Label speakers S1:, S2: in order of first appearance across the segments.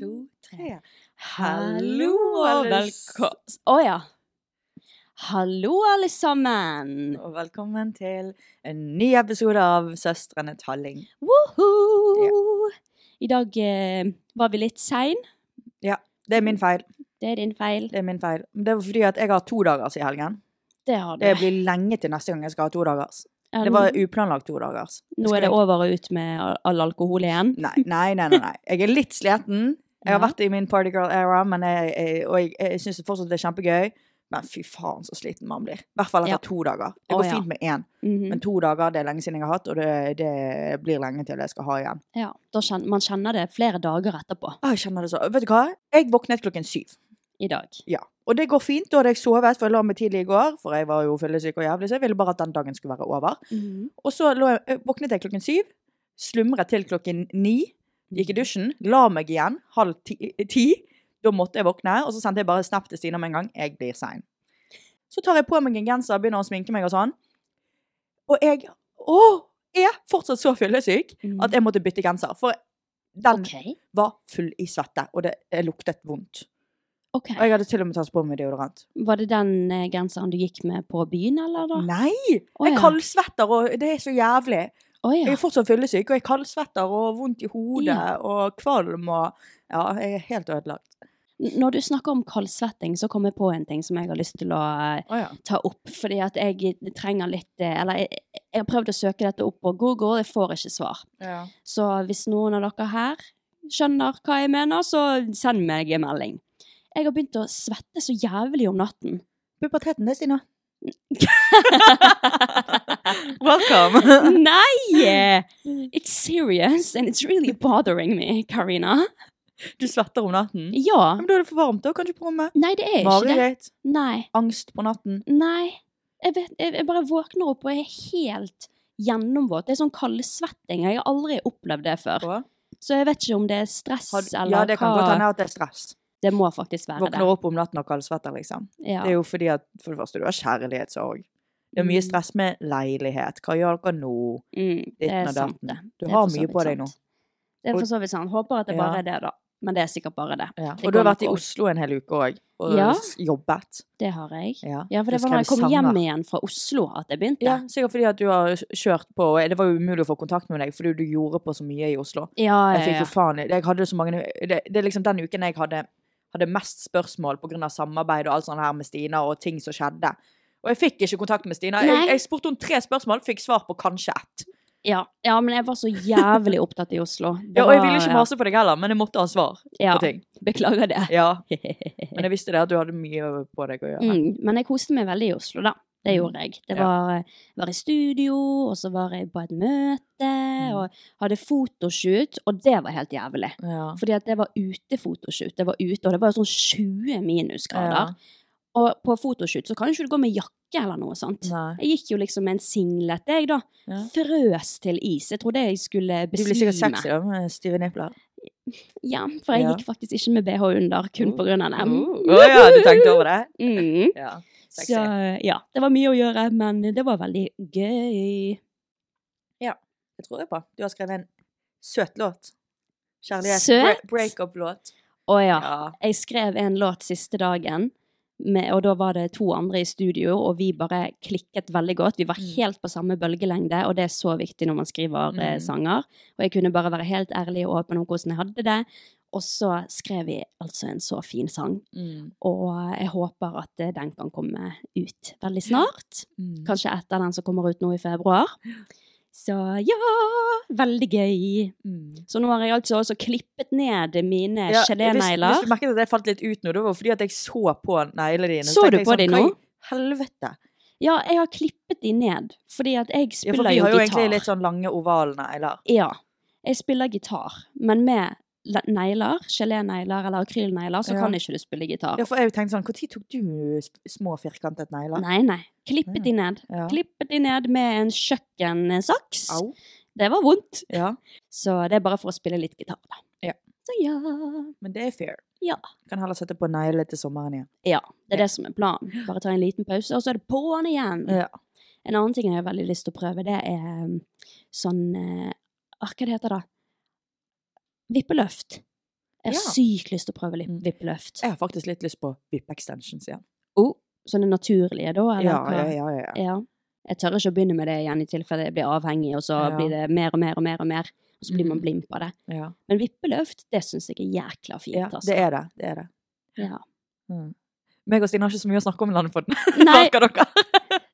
S1: to, tre.
S2: Hallo
S1: og
S2: og velko... Å ja. Hallo, alle sammen.
S1: Og velkommen til en ny episode av Søstrene Talling.
S2: Woohoo! I dag eh, var vi litt sein.
S1: Det er min feil.
S2: Det er din feil.
S1: Det er min feil. Men Det var fordi at jeg har to dagers i helgen.
S2: Det har du.
S1: Det blir lenge til neste gang jeg skal ha to dagers.
S2: Ja,
S1: Det var uplanlagt to dagers.
S2: nå er det over og ut med all- all alkohol igjen.
S1: Nei, nei, nei. nei, nei. Jeg er litt sliten. Jeg har
S2: Ja.
S1: vært i min partygirl era, men jeg, jeg, og jeg, jeg syns fortsatt det er kjempegøy. Men fy faen, så sliten man blir. I hvert fall etter
S2: Ja.
S1: to dager. Det
S2: Å,
S1: går
S2: ja.
S1: fint med én,
S2: Mhm.
S1: men to dager det er lenge siden jeg har hatt, og det, det blir lenge til jeg skal ha igjen.
S2: ja, da kjen- man kjenner det flere dager etterpå
S1: Å, jeg kjenner det så. Vet du hva? Jeg våknet klokken syv.
S2: i dag.
S1: Ja. Og det går fint. Da hadde jeg sovet, for jeg la meg tidlig i går. For jeg var jo fyllesyk og jævlig, så jeg ville bare at den dagen skulle være over. Og så lå jeg, eh, våknet jeg klokken syv, slumret til klokken ni, gikk i
S2: Mm.
S1: dusjen, la meg igjen halv ti. eh, ti. Da måtte jeg våkne, og så sendte jeg bare snap til Stina med en gang. Jeg blir sein. Så tar jeg på meg en genser, begynner å sminke meg og sånn. Og jeg å, er fortsatt så fyllesyk
S2: Mhm.
S1: at jeg måtte bytte genser. For den
S2: OK.
S1: var full i svette, og det eh, luktet vondt.
S2: ok.
S1: Og jeg hadde til og med tatt på meg deodorant.
S2: Var det den eh, genseren du gikk med på byen, eller da?
S1: Nei!
S2: Å,
S1: Jeg
S2: ja.
S1: kaldsvetter, og det er så jævlig.
S2: Å
S1: Jeg
S2: ja.
S1: er fortsatt fyllesyk, og jeg kaldsvetter og vondt i hodet
S2: Ja.
S1: og kvalm og Ja, jeg er helt ødelagt.
S2: N- Når du snakker om kaldsvetting, så kom jeg på en ting som jeg har lyst til å eh,
S1: Å ja.
S2: ta opp, fordi at jeg trenger litt eh, Eller jeg, jeg har prøvd å søke dette opp på Google, og jeg får ikke svar.
S1: ja.
S2: Så hvis noen av dere her skjønner hva jeg mener, så send meg en melding. Jeg har begynt å svette så jævlig om natten.
S1: Puberteten, det, Stina.
S2: Nei! It's serious, and it's really bothering me, Karina.
S1: Du svetter om natten? Ja,
S2: Ja.
S1: Men da er det for varmt, da. Kan du ikke på rommet?
S2: Nei, det er ikke det.
S1: Mareritt.
S2: Nei.
S1: Angst på natten.
S2: Nei. Jeg, vet, jeg, jeg bare våkner opp og er helt gjennomvåt. Det er sånn kaldsvetting. Jeg har aldri opplevd det før.
S1: Og-
S2: Så jeg vet ikke om det er stress
S1: Har-
S2: eller
S1: Ja, det kan
S2: hva.
S1: godt hende at det er stress.
S2: Det må faktisk være
S1: Våkner opp om natten og kaldsvetter, liksom.
S2: det. Ja.
S1: Det er jo fordi at for det første, du har kjærlighetssorg. Det er mye
S2: Mm.
S1: stress med leilighet. Hva gjør dere nå?
S2: Mm, det
S1: Ditten
S2: er
S1: og
S2: sant,
S1: datten.
S2: det.
S1: Du
S2: Det er
S1: har
S2: for så
S1: mye
S2: vidt
S1: på
S2: sant.
S1: deg nå.
S2: Det er
S1: Og-
S2: for så vidt sant. Håper at det bare
S1: Ja.
S2: er det, da. Men det er sikkert bare det. Det
S1: Og du har
S2: går
S1: vært i
S2: nok
S1: Oslo en hel uke òg, og
S2: Ja.
S1: s- jobbet.
S2: Det har jeg.
S1: Ja,
S2: Ja, for
S1: Du
S2: det var da
S1: skrev
S2: jeg kom
S1: sanger.
S2: hjem igjen fra Oslo at jeg begynte.
S1: Ja, sikkert fordi at du har s- kjørt på, og det var jo umulig å få kontakt med deg fordi du gjorde på så mye i Oslo.
S2: ja,
S1: Jeg
S2: ja,
S1: fikk jo
S2: ja.
S1: faen Jeg hadde så mange Det, det er liksom den uken jeg hadde, hadde mest spørsmål på grunn av samarbeid og alt sånt her med Stina, og ting som skjedde. Og jeg fikk ikke kontakt med Stina.
S2: Nei.
S1: Jeg, jeg spurte henne tre spørsmål, fikk svar på kanskje ett.
S2: Ja. ja, men jeg var så jævlig opptatt i Oslo. Det
S1: Ja, og jeg
S2: var-
S1: ville ikke
S2: ja.
S1: mase på deg heller, men jeg måtte ha svar
S2: Ja,
S1: på ting.
S2: beklager det.
S1: Ja, men jeg visste det at du hadde mye på deg å gjøre.
S2: Mm, men jeg koste meg veldig i Oslo, da. Det gjorde jeg. Det
S3: Ja.
S2: var, var i studio, og så var jeg på et møte,
S1: Mm.
S2: og hadde fotoshoot, og det var helt jævlig.
S1: Ja.
S2: Fordi at det var utefotoshoot. Det var ute, og det var jo sånn 20 minusgrader. Og på fotoshoot så kan jo ikke du gå med jakke eller noe sånt.
S1: Nei.
S2: Jeg gikk jo liksom med en singlet, jeg da.
S1: Ja.
S2: Frøs til is. Jeg trodde jeg skulle
S1: Du
S2: besvime.
S1: blir sikkert sexy da, med stive nipler.
S2: Ja, for jeg
S1: Ja. Oh.
S2: gikk faktisk ikke med BH under, kun på grunn av dem.
S1: Å ja, du tenkte over det?
S2: Mm.
S1: Ja. Sexy.
S2: Så ja, det var mye å gjøre, men det var veldig gøy.
S1: Det tror jeg på. Du har skrevet en søt låt. Kjærlighet.
S2: Søt?
S1: Bre Breakup-låt.
S2: Å ja.
S1: Ja.
S2: Jeg skrev en låt siste dagen, med, og da var det to andre i studio, og vi bare klikket veldig godt. Vi var helt på samme bølgelengde, og det er så viktig når man skriver eh,
S1: Mm.
S2: sanger. Og jeg kunne bare være helt ærlig og åpen om hvordan jeg hadde det. Og så skrev vi altså en så fin sang,
S1: mm,
S2: og jeg håper at eh, den kan komme ut veldig snart.
S1: Mm.
S2: Kanskje etter den som kommer ut nå i februar. Så ja, veldig gøy. Så nå har jeg altså også klippet ned mine
S1: mm. Ja, Hvis, hvis
S2: gelénegler.
S1: du merket at jeg falt litt ut nå, det var fordi at jeg så på neglene dine.
S2: Så
S1: tenkte
S2: du
S1: jeg sånn,
S2: på de
S1: hva i
S2: nå?
S1: Helvete.
S2: Ja, jeg har klippet de ned, fordi at jeg
S1: Ja, for
S2: spiller
S1: vi
S2: jo
S1: har jo
S2: gitar.
S1: egentlig litt sånn lange ovale negler.
S2: Ja, jeg spiller gitar, men med le- negler, gelénegler eller akrylnegler, så
S1: Ja.
S2: kan ikke du spille gitar.
S1: Ja, for jeg tenkte sånn, når tok du sp- små firkantet negler?
S2: Nei, nei. Klippet de ned.
S1: Ja.
S2: Klippet de ned med en kjøkkensaks.
S1: Au.
S2: Det var vondt.
S1: Ja,
S2: Så det er bare for å spille litt gitar, da.
S1: Ja.
S2: Så ja.
S1: men det er fair.
S2: Ja.
S1: Kan heller sette på negler til sommeren igjen.
S2: Ja, det er det som er planen. Bare ta en liten pause, og så er det på'n igjen.
S1: Ja.
S2: En annen ting jeg har veldig lyst til å prøve, det er um, sånn eh, ah, Hva det heter det? Vippeløft. Jeg har
S1: Ja.
S2: sykt lyst til å prøve lipp-
S1: Mm.
S2: vippeløft.
S1: Jeg har faktisk litt lyst på VIP-extensions igjen.
S2: Oh, sånne naturlige, da? Eller
S1: Ja,
S2: hva?
S1: ja, ja, ja. ja.
S2: Ja. Jeg tør ikke å begynne med det igjen, i tilfelle jeg blir avhengig, og så
S1: Ja.
S2: blir det mer og mer og mer, og mer, og så blir man
S1: Mm.
S2: blind på det.
S1: ja.
S2: Men vippeløft, det syns jeg er jækla fint,
S1: ja
S2: altså.
S1: det er det. det, er det.
S2: Ja.
S1: Mm. Meg og Stine har ikke så mye å snakke om i Landepodden.
S2: Nei,
S1: Merker dere?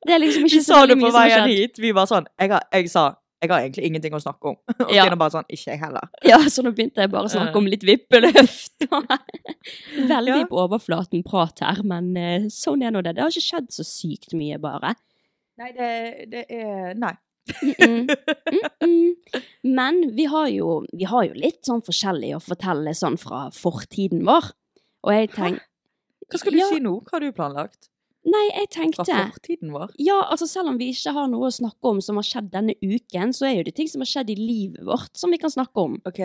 S2: det er liksom
S1: Vi
S2: ikke
S1: sa
S2: så
S1: det
S2: veldig
S1: på
S2: mye som har
S1: veien
S2: skjedd.
S1: hit. Vi var sånn Jeg, har, jeg sa jeg har egentlig ingenting å snakke om. Og
S2: Ja.
S1: Stine bare sånn Ikke jeg heller.
S2: Ja, så nå begynte jeg bare å snakke om litt vippeløft. Veldig
S1: Ja.
S2: på overflaten prat her, men eh, sånn er nå det. Det har ikke skjedd så sykt mye, bare.
S1: Nei, det, det er Nei.
S2: Mm, mm, mm. Men vi har, jo, vi har jo litt sånn forskjellig å fortelle sånn fra fortiden vår. Og jeg tenk...
S1: Hva skal du
S2: Ja.
S1: si nå? Hva har du planlagt?
S2: Nei, jeg
S1: Fra
S2: tenkte
S1: fortiden vår?
S2: Ja, altså selv om vi ikke har noe å snakke om som har skjedd denne uken, så er jo det ting som har skjedd i livet vårt som vi kan snakke om.
S1: OK.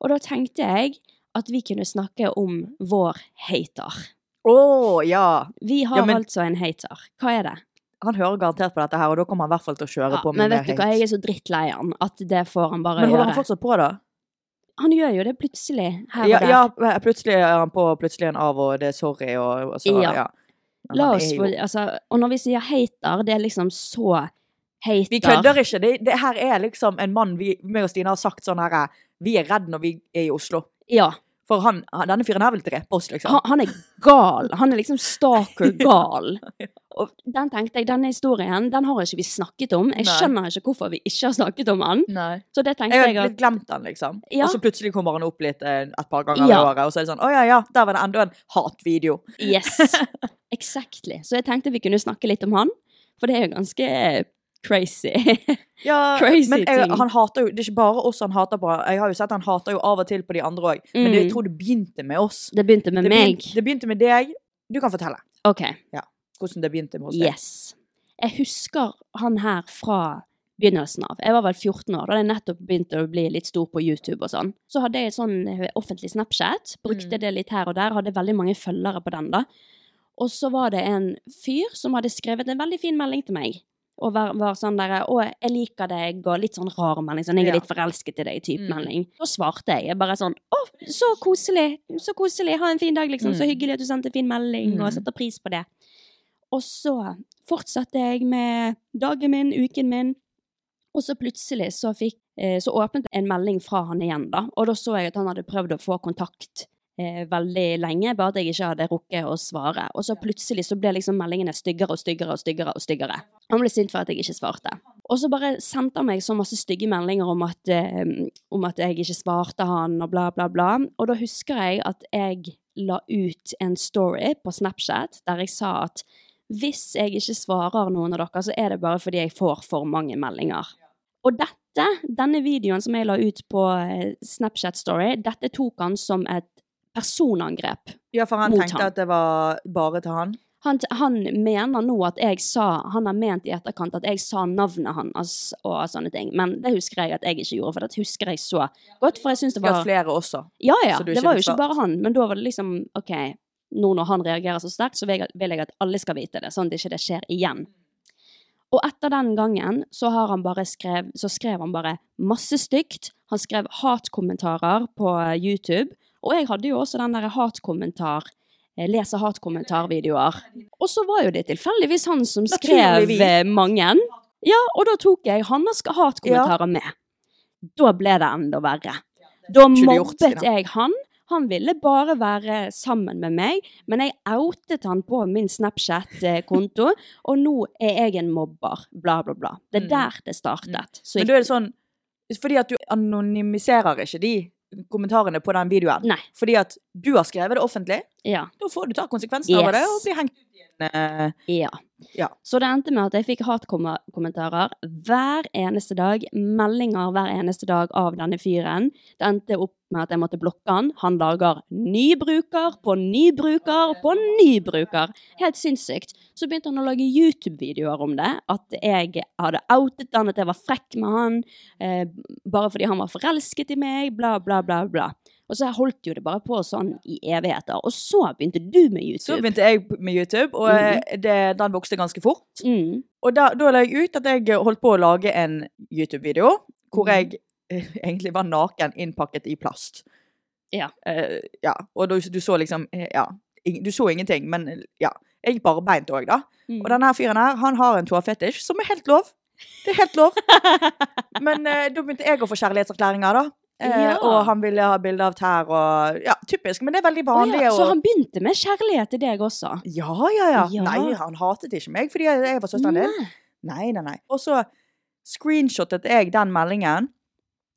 S2: Og da tenkte jeg at vi kunne snakke om vår hater.
S1: Å ja!
S2: Vi har
S1: Ja, men-
S2: altså en hater. Hva er det?
S1: Han hører garantert på dette her, og da kommer han i hvert fall til å kjøre
S2: Ja,
S1: på med
S2: men vet
S1: mer
S2: du hva,
S1: hate.
S2: jeg er så drittlei han at det får han bare
S1: Men holder
S2: gjøre.
S1: han fortsatt på, da?
S2: Han gjør jo det plutselig her og
S1: Ja,
S2: der.
S1: ja, plutselig er han på, og plutselig er han av, og det er sorry, og, og så
S2: Ja.
S1: Ja. Men
S2: La
S1: han
S2: oss
S1: er jo-
S2: få altså, Og når vi sier hater, det er liksom så hater.
S1: Vi kødder ikke. Det, det her er liksom en mann vi meg og Stine har sagt sånn her Vi er redd når vi er i Oslo.
S2: Ja.
S1: For han, han- denne fyren her vil drepe oss, liksom.
S2: Han, han er gal. Han er liksom stalker-gal. Og den tenkte jeg, denne historien den har ikke vi snakket om. Jeg
S1: Nei.
S2: skjønner ikke hvorfor vi ikke har snakket om han.
S1: Nei.
S2: Så det tenkte jeg
S1: Jeg har
S2: at
S1: litt glemt han, liksom.
S2: Ja.
S1: Og så plutselig kommer han opp litt eh, et par ganger i
S2: Ja.
S1: året, og så er det sånn Å ja, ja, der var det enda en hatvideo.
S2: Yes. Exactly. Så jeg tenkte vi kunne snakke litt om han, for det er jo ganske crazy.
S1: Ja,
S2: Crazy
S1: men jeg,
S2: ting.
S1: han hater jo Det er ikke bare oss han hater på. Jeg har jo sett han hater jo av og til på de andre òg, men det, jeg
S2: Mm.
S1: tror det begynte med oss.
S2: Det begynte med
S1: det,
S2: meg.
S1: begynte, det begynte med deg. Du kan fortelle
S2: Ok,
S1: hvordan det begynte med oss.
S2: yes. Jeg husker han her fra begynnelsen av. Jeg var vel 14 år, da jeg nettopp begynte å bli litt stor på YouTube og sånn. Så hadde jeg et sånn eh, offentlig Snapchat,
S1: Mm.
S2: brukte det litt her og der, hadde veldig mange følgere på den da. Og så var det en fyr som hadde skrevet en veldig fin melding til meg. Og var, var sånn der, å, jeg liker deg, og litt sånn rar melding, sånn, jeg
S1: Ja.
S2: er litt forelsket i deg, type
S1: Mm.
S2: melding. Så svarte jeg, jeg bare sånn, å, så koselig, så koselig, ha en fin dag liksom, så
S1: Mm.
S2: hyggelig at du sendte en fin melding,
S1: Mm.
S2: og setter pris på det. Og så fortsatte jeg med dagen min, uken min. Og så plutselig så, fikk, eh, så åpnet jeg en melding fra han igjen, da. Og da så jeg at han hadde prøvd å få kontakt eh, veldig lenge, bare at jeg ikke hadde rukket å svare. Og så plutselig så ble liksom meldingene styggere og styggere og styggere. og styggere. Han ble sint for at jeg ikke svarte. Og så bare sendte han meg så masse stygge meldinger om at, eh, om at jeg ikke svarte han, og bla, bla, bla. Og da husker jeg at jeg la ut en story på Snapchat der jeg sa at Hvis jeg ikke svarer noen av dere, så er det bare fordi jeg får for mange meldinger. Og dette, denne videoen som jeg la ut på eh, Snapchat Story, dette tok han som et personangrep.
S1: Ja, for han
S2: Mot
S1: tenkte
S2: han.
S1: at det var bare til han.
S2: Han, han mener nå at jeg sa Han har ment i etterkant at jeg sa navnet hans og sånne ting. Men det husker jeg at jeg ikke gjorde, for det husker jeg så godt. For jeg synes det
S1: Ja,
S2: var
S1: flere også.
S2: Ja, ja.
S1: Så du er
S2: Det
S1: ikke
S2: var jo ikke
S1: besvart.
S2: bare han. Men da var det liksom OK, nå når han reagerer så sterkt, så vil jeg, vil jeg at alle skal vite det, sånn at ikke det skjer igjen. Og etter den gangen så, har han bare skrev, så skrev han bare masse stygt. Han skrev hatkommentarer på eh, YouTube. Og jeg hadde jo også den derre hatkommentar eh, Lese hatkommentarvideoer. Og så var jo det tilfeldigvis han som skrev
S1: Naturligvis.
S2: eh, mange. Ja, og da tok jeg hans hatkommentarer med. Da ble det enda verre. Da
S1: Skulle gjort,
S2: mobbet
S1: Stina.
S2: jeg han. Han ville bare være sammen med meg, men jeg outet han på min Snapchat-konto. Og nå er jeg en mobber, bla, bla, bla. Det er
S1: Mm.
S2: der det startet. Så jeg,
S1: Men da er det sånn Fordi at du anonymiserer ikke de kommentarene på den videoen.
S2: Nei.
S1: Fordi at du har skrevet det offentlig.
S2: ja,
S1: Da får du ta konsekvensen av
S2: Yes.
S1: det og bli hengt ut i en eh,
S2: ja.
S1: Ja.
S2: Så det endte med at jeg fikk hatkommentarer hver eneste dag. Meldinger hver eneste dag av denne fyren. Det endte opp med at jeg måtte blokke han. Han lager ny bruker på ny bruker på ny bruker. Helt sinnssykt. Så begynte han å lage YouTube-videoer om det. At jeg hadde outet han, at jeg var frekk med han. Eh, bare fordi han var forelsket i meg, bla, bla, bla, bla. Og så holdt jo det bare på sånn i evigheter. Og så begynte du med
S1: Så
S2: YouTube. Mhm.
S1: begynte jeg med YouTube, og eh, det, den vokste ganske fort.
S2: Mm.
S1: Og da, da la jeg ut at jeg holdt på å lage en YouTube-video
S2: Mhm.
S1: hvor jeg eh, egentlig var naken innpakket i plast.
S2: Ja.
S1: Eh, ja. Og du, du så liksom eh, Ja. ing- Du så ingenting, men eh, ja. Jeg gikk bare beint òg, da.
S2: Mm.
S1: Og denne her fyren her, han har en tåfetisj, som er helt lov. Det er helt lov. Men eh, da begynte jeg å få kjærlighetserklæringer, da. Eh,
S2: Ja.
S1: Og han ville ha bilde av tær og Ja, typisk, men det er veldig vanlig.
S2: Å ja, Så
S1: og...
S2: han begynte med kjærlighet til deg også?
S1: ja, ja, ja,
S2: Ja.
S1: Nei, han hatet ikke meg fordi jeg, jeg var søsteren din.
S2: Nei.
S1: Nei, nei, nei. Og så screenshotet jeg den meldingen.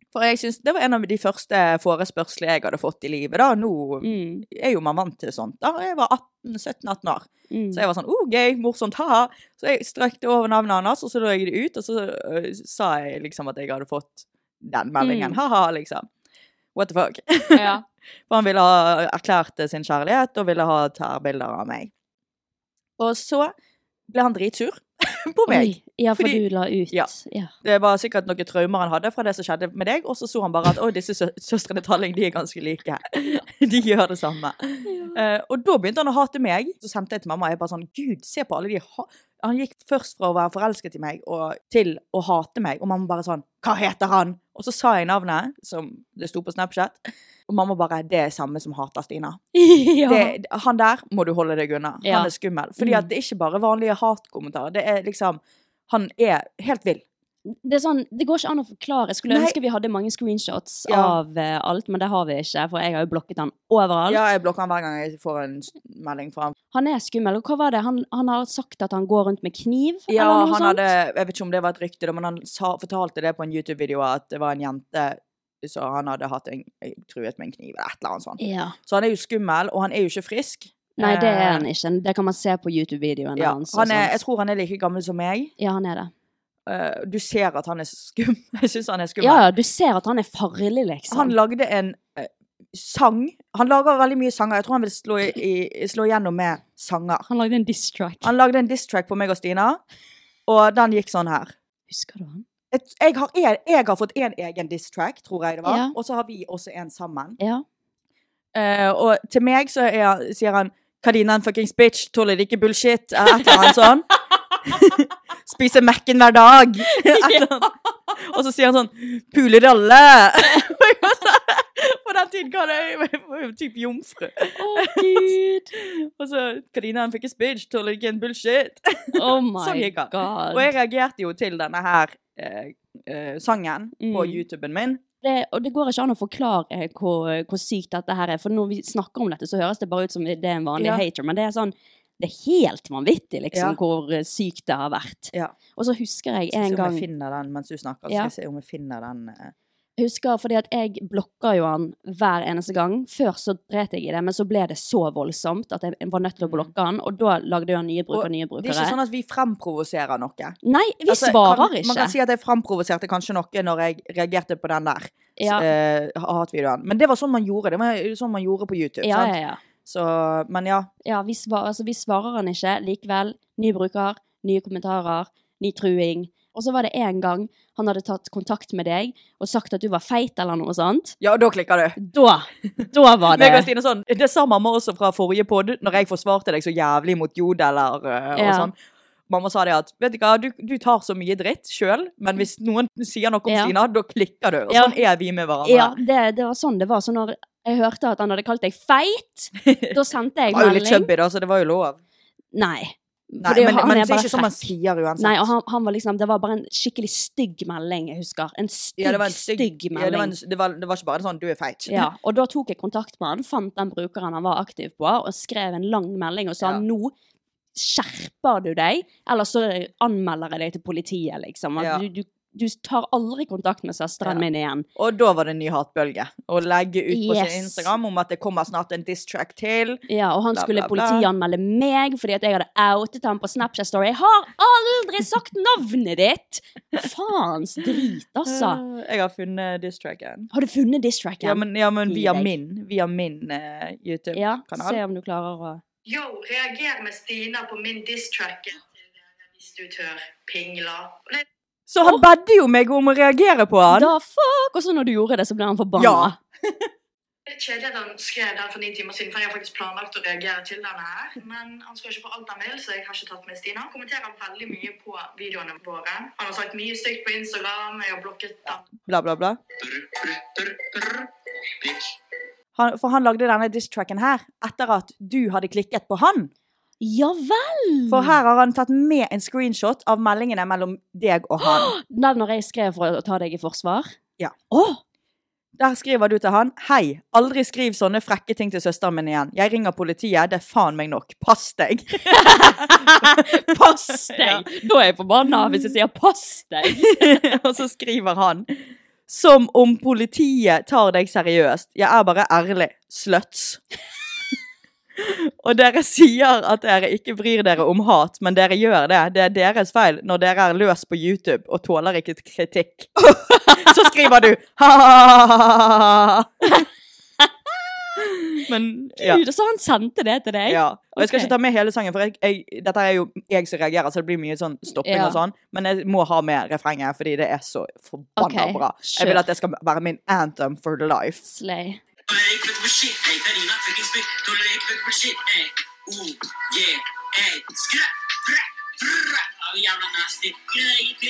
S1: For jeg synes det var en av de første forespørslene jeg hadde fått i livet. da. Nå
S2: Mm.
S1: er jo man vant til sånt. da. Jeg var 17-18 år.
S2: Mm.
S1: Så jeg var sånn oh, gøy, morsomt, haha. Så jeg strekte over navnet hans, og så lå jeg det ut, og så øh, sa jeg liksom at jeg hadde fått den meldingen,
S2: Mm.
S1: haha, liksom. What the fuck?
S2: ja.
S1: For han ville ha erklært sin kjærlighet, og ville ha tærbilder av meg. Og så ble han dritsur på meg.
S2: Oi, ja, for
S1: Fordi-
S2: du la ut.
S1: Ja.
S2: Ja.
S1: Det var sikkert noen traumer han hadde fra det som skjedde med deg, og så så han bare at oi, disse sø søstrene Talling, de er ganske like. De gjør det samme. Eh, og da begynte han å hate meg. Så sendte jeg til mamma, og jeg bare sånn Gud, se på alle de ha Han gikk først fra å være forelsket i meg og til å hate meg, og mamma bare sånn Hva heter han? Og så sa jeg navnet, som det sto på Snapchat, og mamma bare Det er samme som hater Stina.
S2: ja.
S1: Det, han der må du holde deg unna.
S2: Ja.
S1: Han er skummel. Fordi at
S2: Mm.
S1: det er ikke bare vanlige hatkommentarer. Det er liksom Han er helt vill.
S2: Det, er sånn, det går ikke an å forklare. Jeg skulle
S1: Nei.
S2: ønske vi hadde mange screenshots
S1: Ja.
S2: av eh, alt, men det har vi ikke, for jeg har jo blokket han overalt.
S1: Ja, jeg blokker han hver gang jeg får en s- melding fra ham.
S2: Han er skummel. Og hva var det? Han, han har sagt at han går rundt med kniv?
S1: Ja,
S2: eller noe
S1: han
S2: sånt?
S1: hadde, jeg vet ikke om det var et rykte, da, men han sa, fortalte det på en YouTube-video at det var en jente så han hadde hatt en, truet med en kniv eller et eller annet sånt.
S2: Ja.
S1: Så han er jo skummel, og han er jo ikke frisk.
S2: Nei, det er
S1: Eh,
S2: han ikke. Det kan man se på YouTube-videoene
S1: Ja,
S2: hans. og
S1: han er,
S2: sånt.
S1: jeg tror han er like gammel som meg.
S2: ja, han er det.
S1: Eh, Du ser at han er skum. Jeg syns han er skummel.
S2: Ja, ja, du ser at han er farlig, liksom.
S1: Han lagde en eh, sang. Han lager veldig mye sanger. Jeg tror han vil slå, i, i- slå gjennom med sanger.
S2: Han lagde en diss-track.
S1: Han lagde en diss-track på meg og Stina, og den gikk sånn her.
S2: Husker du han?
S1: Jeg, jeg, har, en, jeg har fått en egen diss-track, tror jeg det var,
S2: Ja.
S1: og så har vi også en sammen.
S2: Ja.
S1: Eh, og til meg så er, sier han 'Kardinaen fuckings bitch, tåler ikke bullshit', eller et eller annet sånn. Spiser Mac-en hver dag. Et eller annet. Og så sier han sånn 'Puler alle'. Og jeg var sånn, På den tiden kan jeg jeg var jo typ jomfru.
S2: Å, gud.
S1: Og så 'Kardinaen fuckings bitch, tåler ikke en bullshit'.
S2: Oh my
S1: Sånn gikk han.
S2: god.
S1: Og jeg reagerte jo til denne her eh, eh, sangen på
S2: Mm.
S1: YouTuben min.
S2: det, og det går ikke an å forklare eh, hvor, hvor sykt dette her er. For når vi snakker om dette, så høres det bare ut som det er en vanlig
S1: Ja.
S2: hater. Men det er sånn Det er helt vanvittig, liksom,
S1: Ja.
S2: hvor eh, sykt det har vært.
S1: Ja.
S2: Og så husker jeg
S1: Skal
S2: en
S1: se om
S2: gang
S1: jeg finner den mens du snakker. så
S2: Ja.
S1: Skal jeg se om jeg finner den. eh.
S2: Jeg husker fordi at jeg blokka jo han hver eneste gang. Før så dret jeg i det, men så ble det så voldsomt at jeg var nødt til å blokke han. Og da lagde jo han nye bruk og nye
S1: Mm. Det er ikke
S2: brukere.
S1: sånn at vi fremprovoserer noe.
S2: Nei, vi
S1: Altså,
S2: svarer
S1: kan,
S2: ikke.
S1: Man kan si at jeg framprovoserte kanskje noe når jeg reagerte på den der
S2: Ja.
S1: eh, hatvideoen. Men det var sånn man gjorde. Det var sånn man gjorde på YouTube.
S2: ja,
S1: sant?
S2: ja, ja.
S1: Så, men ja.
S2: ja vi, svarer, altså, vi svarer han ikke. Likevel, ny bruker, nye kommentarer, ny truing. Og så var det en gang han hadde tatt kontakt med deg og sagt at du var feit eller noe sånt.
S1: Ja, og da klikker du.
S2: Da, da var det
S1: Meg og Stine sånn, Det sa mamma også fra forrige podd, når jeg forsvarte deg så jævlig mot jodeler eh, og
S2: Ja.
S1: sånn. Mamma sa det at vet du hva, du, du tar så mye dritt sjøl, men hvis noen sier noe om
S2: Ja.
S1: Stina, da klikker du. Og
S2: Ja.
S1: sånn er vi med hverandre.
S2: Ja, det, det var sånn det var. Så når jeg hørte at han hadde kalt deg feit, da sendte jeg
S1: Han var jo litt
S2: melding.
S1: chubby, da, så det var jo lov.
S2: Nei.
S1: Nei,
S2: Fordi
S1: men,
S2: han
S1: men
S2: er
S1: det er
S2: bare
S1: ikke sånn man
S2: frekk.
S1: sier uansett.
S2: Nei, og han, han var liksom, Det var bare en skikkelig stygg melding, jeg husker. En stygg,
S1: Ja, det var en
S2: stygg, melding.
S1: ja, det, var en, det, var, det var ikke bare sånn 'du er feit'.
S2: Ja, og da tok jeg kontakt med han, fant den brukeren han var aktiv på, og skrev en lang melding og sa
S1: Ja.
S2: nå skjerper du deg, eller så anmelder jeg deg til politiet, liksom. At
S1: Ja.
S2: Du, du, du tar aldri kontakt med søsteren
S1: Ja.
S2: min igjen.
S1: Og da var det en ny hatbølge. Å legge ut på
S2: Yes.
S1: sin Instagram om at det kommer snart en diss-track til.
S2: Ja, og han
S1: Bla,
S2: skulle
S1: bla, bla.
S2: politianmelde meg fordi at jeg hadde outet ham på Snapchat Story. Jeg har aldri sagt navnet ditt! Faens drit, altså.
S1: Eh, Jeg har funnet diss-tracken.
S2: Har du funnet diss-tracken?
S1: Ja, men, ja, men
S2: Gi
S1: via
S2: deg.
S1: min, via min eh,
S2: Ja,
S1: YouTube-kanal.
S2: se om du klarer å
S3: Yo, reager med Stina på min diss-tracken til revisutør Pingla. Og det
S1: Så han bedde jo meg om å reagere på han!
S2: Da fuck! Og så når du gjorde det, så ble han forbanna.
S1: Ja.
S3: er litt kjedelig at han skrev den for ni timer siden, for jeg har faktisk planlagt å reagere til denne her. Men han skal ikke få alt han vil, så jeg har ikke tatt med Stina. Han kommenterer veldig mye på videoene våre. Han har sagt mye stygt på Instagram, jeg har blokket ham.
S1: Bla, bla, bla. Han, for han lagde denne diss-tracken her etter at du hadde klikket på han.
S2: Ja vel!
S1: For her har han tatt med en screenshot av meldingene mellom deg og han.
S2: Den når jeg skrev for å ta deg i forsvar.
S1: Ja.
S2: Åh,
S1: Der skriver du til han Hei, aldri skriv sånne frekke ting til søsteren min igjen. Jeg ringer politiet, det er faen meg nok. Pass deg.
S2: pass deg! Da er jeg forbanna hvis jeg sier pass deg.
S1: Og så skriver han Som om politiet tar deg seriøst. Jeg er bare ærlig. Sluts. Og dere sier at dere ikke bryr dere om hat, men dere gjør det. Det er deres feil når dere er løs på YouTube og tåler ikke kritikk. Så skriver du ha-ha-ha-ha. Men ja.
S2: Gud, og så han sendte det til deg.
S1: Ja. Og jeg skal
S2: Ok.
S1: ikke ta med hele sangen, for jeg, jeg, dette er jo jeg som reagerer, så det blir mye sånn stopping
S2: Ja.
S1: og sånn. Men jeg må ha med refrenget, fordi det er så forbanna
S2: Ok,
S1: bra.
S2: sure.
S1: Jeg vil at det skal være min anthem for life.
S2: Slay.
S3: Oh,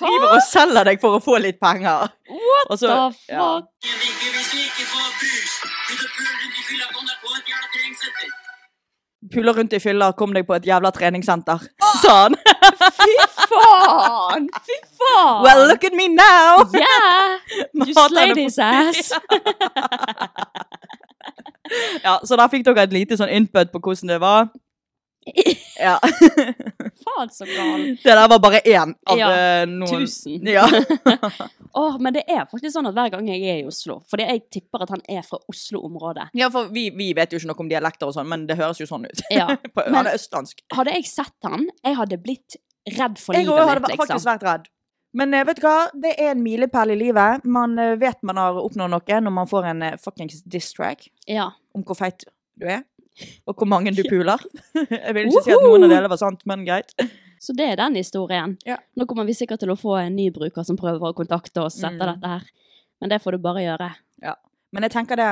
S1: Driver og selger deg for å få litt penger.
S2: What
S1: Og så-
S2: the fuck?
S1: ja. Puller rundt i fylla, kom deg på et jævla treningssenter,
S2: Ah!
S1: Sånn. sa han.
S2: Fy faen! Fy faen!
S1: Well, look at me now!
S2: Yeah! Ah. You
S1: Hater
S2: slay
S1: det for-
S2: this ass.
S1: Ja, så der fikk dere et lite sånn input på hvordan det var. Ja.
S2: faen, så gal.
S1: Det der var bare én av
S2: Ja,
S1: eh, noen
S2: tusen.
S1: Ja.
S2: Åh, men det er faktisk sånn at hver gang jeg er i Oslo Fordi jeg tipper at han er fra Oslo-området.
S1: ja, for vi, vi vet jo ikke noe om dialekter og sånn, men det høres jo sånn ut.
S2: Ja,
S1: På-
S2: men-
S1: Han er østlandsk.
S2: Hadde jeg sett han, jeg hadde blitt redd for
S1: Jeg
S2: livet
S1: òg hadde
S2: mitt,
S1: vært-
S2: liksom.
S1: faktisk vært redd. Men eh, vet du hva? Det er en milepæl i livet. Man eh, vet man har oppnådd noe når man får en eh, fuckings diss-track
S2: Ja.
S1: om hvor feit du er, og hvor mange du puler. Jeg vil ikke si at noen av delene var sant, men greit.
S2: Så det er den historien.
S1: Ja.
S2: Nå kommer vi sikkert til å få en ny bruker som prøver å kontakte oss etter
S1: Mm.
S2: dette her. Men det får du bare gjøre.
S1: Men jeg tenker det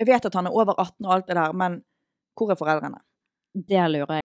S1: Jeg vet at han er over 18 og alt det der, men hvor er foreldrene?
S2: Det lurer jeg.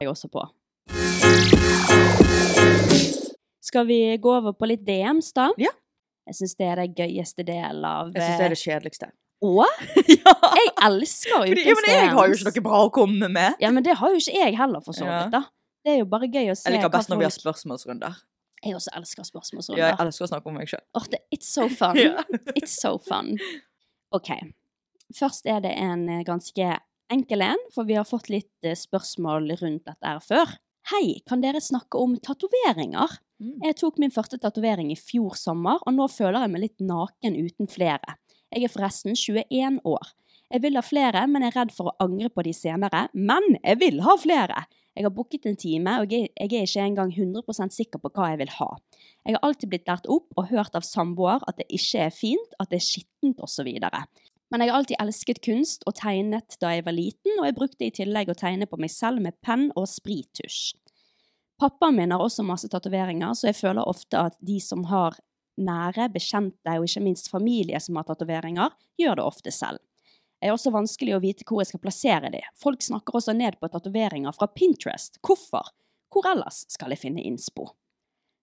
S2: jeg er også på. Skal vi gå over på litt DMs, da?
S1: Ja.
S2: Jeg syns det er den gøyeste delen av
S1: Jeg syns det er det kjedeligste.
S2: Å? Jeg elsker
S1: Fordi,
S2: ukens
S1: ja, men jeg har jo ikke
S2: DMs.
S1: noe bra å komme med.
S2: Ja, men det har jo ikke jeg heller, for så
S1: Ja.
S2: vidt. da. Det er jo bare gøy å se
S1: Jeg liker best når vi har
S2: folk-
S1: spørsmålsrunder.
S2: Jeg også elsker spørsmålsrunder.
S1: Ja, jeg elsker å snakke om meg sjøl.
S2: Åh, det- it's so fun.
S1: Ja.
S2: It's so fun. OK. Først er det en eh, ganske enkel en, for vi har fått litt eh, spørsmål rundt dette her før. Hei, kan dere snakke om tatoveringer?
S1: Mm.
S2: Jeg tok min første tatovering i fjor sommer, og nå føler jeg meg litt naken uten flere. Jeg er forresten 21 år. Jeg vil ha flere, men er redd for å angre på de senere. Men jeg vil ha flere! Jeg har booket en time, og jeg jeg er ikke engang 100 sikker på hva jeg vil ha. Jeg har alltid blitt lært opp og hørt av samboer at det ikke er fint, at det er skittent osv. Men jeg har alltid elsket kunst og tegnet da jeg var liten, og jeg brukte i tillegg å tegne på meg selv med penn og sprittusj. Pappaen min har også masse tatoveringer, så jeg føler ofte at de som har nære, bekjente og ikke minst familie som har tatoveringer, gjør det ofte selv. Det er også vanskelig å vite hvor jeg skal plassere de. Folk snakker også ned på tatoveringer fra Pinterest. Hvorfor? Hvor ellers skal jeg finne innspo?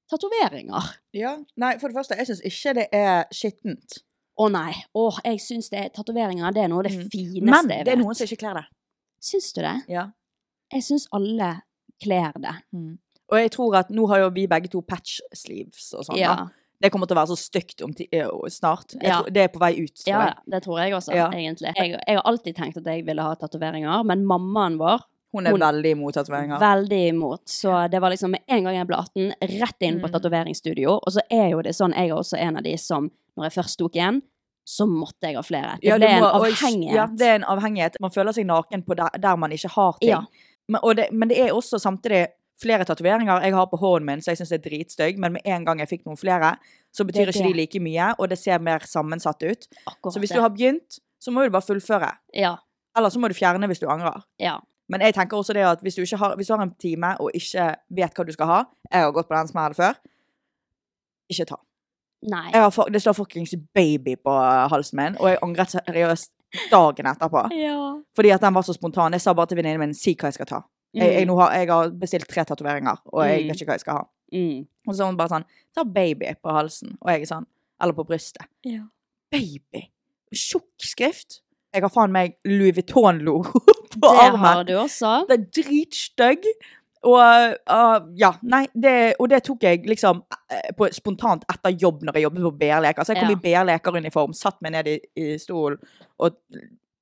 S2: Tatoveringer.
S1: Ja. Nei, for det første, jeg syns ikke det er skittent.
S2: Å nei. Åh, jeg syns det er tatoveringer. Det er noe av det
S1: Mm.
S2: fineste
S1: Men
S2: jeg vet.
S1: det er noen som ikke kler det.
S2: Syns du det?
S1: Ja.
S2: Jeg syns alle kler det.
S1: Og jeg tror at nå har jo vi begge to patch sleeves og sånn.
S2: ja.
S1: da. Det kommer til å være så stygt om ti eh, snart. Jeg
S2: Ja.
S1: tror, det er på vei ut. tror
S2: ja,
S1: jeg.
S2: det tror jeg også,
S1: Ja.
S2: egentlig. Jeg, jeg har alltid tenkt at jeg ville ha tatoveringer, men mammaen vår
S1: Hun er
S2: Hun-
S1: veldig imot tatoveringer.
S2: Veldig imot. Så det var liksom med en gang jeg ble 18, rett inn på
S1: Mm.
S2: tatoveringsstudio. Og så er jo det sånn, jeg er også en av de som, når jeg først tok en, så måtte jeg ha flere. Det
S1: Ja, du
S2: ble en
S1: må- og-
S2: avhengighet.
S1: Ja, det er en avhengighet. Man føler seg naken på der, der man ikke har ting.
S2: Ja.
S1: Men, og det, men det er også samtidig flere tatoveringer jeg har på hånden min, så jeg syns det er dritstygg, men med en gang jeg fikk noen flere, så betyr
S2: Det er
S1: ikke de like mye, og det ser mer sammensatt ut.
S2: Akkurat
S1: Så hvis
S2: det.
S1: du har begynt, så må du bare fullføre.
S2: Ja,
S1: Eller så må du fjerne hvis du angrer.
S2: ja.
S1: Men jeg tenker også det at hvis du, ikke har, hvis du har en time og ikke vet hva du skal ha Jeg har gått på den smellen før. Ikke ta.
S2: Nei.
S1: Jeg har, fu- det står fuckings baby på eh, halsen min, og jeg angret seriøst dagen etterpå.
S2: Ja.
S1: Fordi at den var så spontan. Jeg sa bare til venninnen min si hva jeg skal ta. Jeg, jeg, nå har, jeg har bestilt tre tatoveringer, og jeg
S2: Mm.
S1: vet ikke hva jeg skal ha.
S2: Mm.
S1: Og så er hun bare sånn ta baby på halsen. Og jeg er sånn Eller på brystet.
S2: Ja.
S1: Baby! Tjukk skrift. Jeg har faen meg Louis Vuitton-logo på
S2: Det har
S1: armen.
S2: du også.
S1: Det er dritstygg. Og uh, ja, nei, det, og det tok jeg liksom eh, på, spontant etter jobb når jeg jobbet på BR-leker. Så jeg kom
S2: Ja.
S1: i BR-lekeruniform, satt meg ned i, i stolen og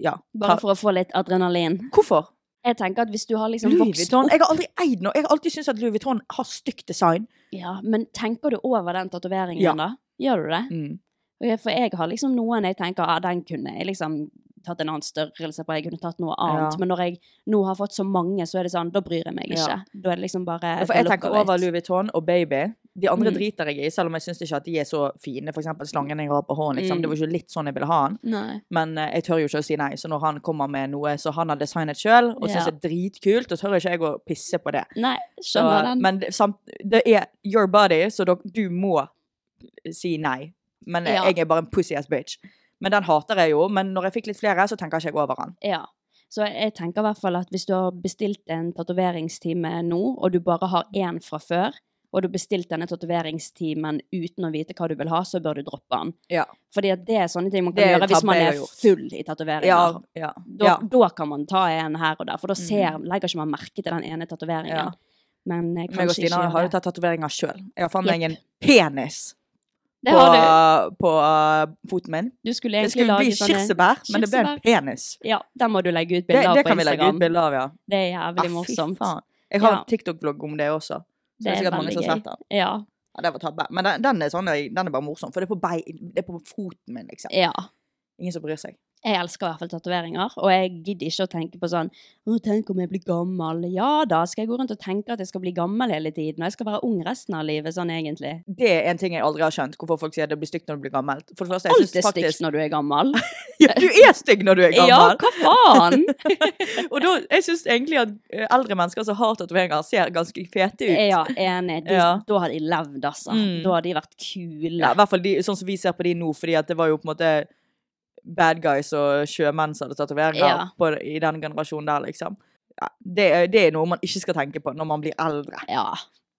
S1: ja.
S2: Bare
S1: ta-
S2: for å få litt adrenalin.
S1: Hvorfor?
S2: Jeg tenker at hvis du har liksom
S1: Louis
S2: vokst
S1: Vuitton?
S2: opp
S1: Jeg har aldri eid noe. Jeg har alltid syntes at Louis Vuitton har stygt design.
S2: Ja, men tenker du over den tatoveringen,
S1: Ja.
S2: da? Gjør du det? Ok, For jeg har liksom noen jeg tenker ah, den kunne jeg liksom tatt en annen størrelse på, jeg kunne tatt noe annet.
S1: Ja.
S2: Men når jeg nå har fått så mange, så er det sånn, da bryr jeg meg ikke.
S1: Ja.
S2: Da er det liksom bare
S1: Ja, For
S2: the
S1: jeg
S2: look
S1: tenker
S2: of it.
S1: over Louis Vuitton og Baby. De andre
S2: Mm.
S1: driter jeg i, selv om jeg syns ikke at de er så fine. For eksempel slangen jeg har på hånden. Liksom.
S2: Mm.
S1: Det var ikke litt sånn jeg ville ha den.
S2: Nei.
S1: Men eh, jeg tør jo ikke å si nei. Så når han kommer med noe så han har designet sjøl, og
S2: Ja.
S1: syns det er dritkult, så tør ikke jeg å pisse på det.
S2: Nei,
S1: Så,
S2: skjønner den.
S1: men det- samt, det er your body, så dok- du må si nei. Men eh,
S2: Ja.
S1: jeg er bare en pussy ass bitch. Men den hater jeg jo. Men når jeg fikk litt flere, så tenker ikke jeg over den.
S2: Ja. Så jeg tenker i hvert fall at hvis du har bestilt en tatoveringstime nå, og du bare har én fra før, og du har bestilt denne tatoveringstimen uten å vite hva du vil ha, så bør du droppe den.
S1: Ja.
S2: Fordi at det er sånne ting man
S1: Det
S2: kan
S1: er
S2: gjøre hvis
S1: tabbe
S2: man
S1: jeg har
S2: er
S1: gjort.
S2: full i tatoveringer.
S1: Ja, ja,
S2: Da,
S1: ja. Mm.
S2: da kan man ta en her og der, for da ser, legger ikke man merke til den ene tatoveringen.
S1: Ja.
S2: Men eh, kanskje
S1: Meg og
S2: ikke
S1: Stina
S2: gjør
S1: har jo
S2: det.
S1: tatt tatoveringer sjøl. Jeg har faen meg
S2: Jepp.
S1: en penis
S2: Det
S1: på,
S2: har du.
S1: på uh, foten min.
S2: Du skulle
S1: Det
S2: egentlig
S1: skulle
S2: lage
S1: bli
S2: sånne
S1: kirsebær, men det ble en
S2: kirsebær.
S1: penis.
S2: Ja, den må du legge ut
S1: Det,
S2: bilder av
S1: det
S2: på
S1: kan vi legge
S2: Instagram.
S1: ut bilde av, ja.
S2: det er jævlig
S1: Ah, fy
S2: morsomt.
S1: faen. Jeg har
S2: Ja.
S1: TikTok-blogg om det også. Så
S2: Det
S1: det er
S2: er
S1: sikkert mange
S2: veldig
S1: som har
S2: gøy.
S1: sett den.
S2: Ja.
S1: Ja, det var tabbe. Men den, den, er sånn, den er bare morsom, for det er på, bei, det er på foten min, liksom.
S2: ja.
S1: Ingen som bryr seg.
S2: Jeg elsker i hvert fall tatoveringer, og jeg gidder ikke å tenke på sånn Å, tenk om jeg blir gammel. Ja da, skal jeg gå rundt og tenke at jeg skal bli gammel hele tiden? Og jeg skal være ung resten av livet, sånn egentlig.
S1: Det er en ting jeg aldri har skjønt, hvorfor folk sier det blir stygt når du blir gammel. For det første, jeg
S2: Alt
S1: synes
S2: er stygt
S1: faktisk
S2: når du er gammel.
S1: ja, Du er stygg når du er
S2: Ja,
S1: gammel!
S2: hva faen?
S1: og da, jeg syns egentlig at eh, eldre mennesker som har tatoveringer, ser ganske fete ut.
S2: Ja, enig. De,
S1: Ja.
S2: Da har de levd, altså.
S1: Mm.
S2: Da har de vært kule.
S1: Ja, I hvert fall de, sånn som vi ser på de nå, fordi at det var jo på en måte bad guys og sjømenn som hadde tatoveringer
S2: Ja.
S1: på- i den generasjonen der, liksom. Ja, det, er- det er noe man ikke skal tenke på når man blir eldre.
S2: Ja.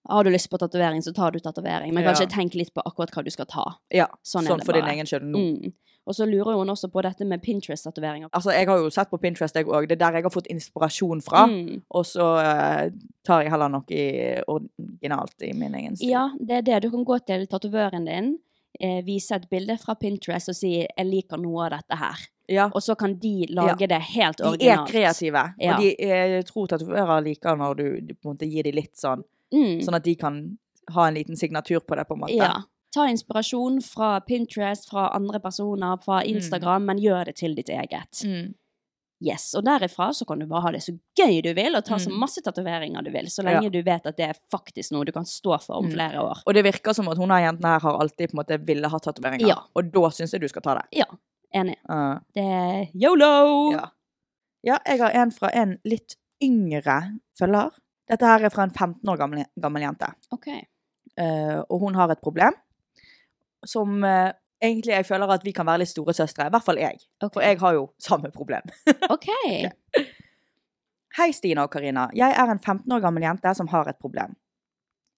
S2: Har du lyst på tatovering, så tar du tatovering. Men
S1: Ja.
S2: kanskje tenk litt på akkurat hva du skal ta.
S1: Ja,
S2: Sånn
S1: sånn,
S2: er det
S1: for din
S2: bare.
S1: egen skyld nå.
S2: Mm. Og så lurer hun også på dette med Pinterest-tatoveringer.
S1: Altså, jeg har jo sett på Pinterest, jeg òg. Det er der jeg har fått inspirasjon fra.
S2: Mm.
S1: Og så eh, tar jeg heller noe i- originalt i min egen stil.
S2: Ja, det er det. Du kan gå til tatovøren din, eh, vise et bilde fra Pinterest og si 'jeg liker noe av dette her'.
S1: Ja.
S2: Og så kan de lage det helt
S1: De er
S2: originalt.
S1: kreative,
S2: Ja.
S1: og de jeg tror tatovører liker når du, du på en måte gir dem litt sånn,
S2: Mm.
S1: sånn at de kan ha en liten signatur på det, på en måte.
S2: Ja. Ta inspirasjon fra Pinterest, fra andre personer, fra Instagram, men gjør det til ditt eget.
S1: Mm.
S2: Yes, Og derifra så kan du bare ha det så gøy du vil, og ta så
S1: Mm.
S2: masse tatoveringer du vil, så lenge
S1: Ja. Mm.
S2: du vet at det er faktisk noe du kan stå for om flere år.
S1: Og det virker som at hun her jentene her har alltid på en måte ville ha tatoveringer.
S2: Ja.
S1: Og da syns jeg du skal ta det.
S2: Ja, enig.
S1: Uh,
S2: Det er yolo!
S1: ja. ja, jeg har en fra en litt yngre følger. Dette her er fra en 15 år gammel, gammel jente.
S2: OK.
S1: Eh, og hun har et problem som eh, egentlig jeg føler at vi kan være litt store søstre. I hvert fall jeg.
S2: Ok.
S1: For jeg har jo samme problem.
S2: OK.
S1: Hei, Stina og Karina. Jeg er en 15 år gammel jente som har et problem.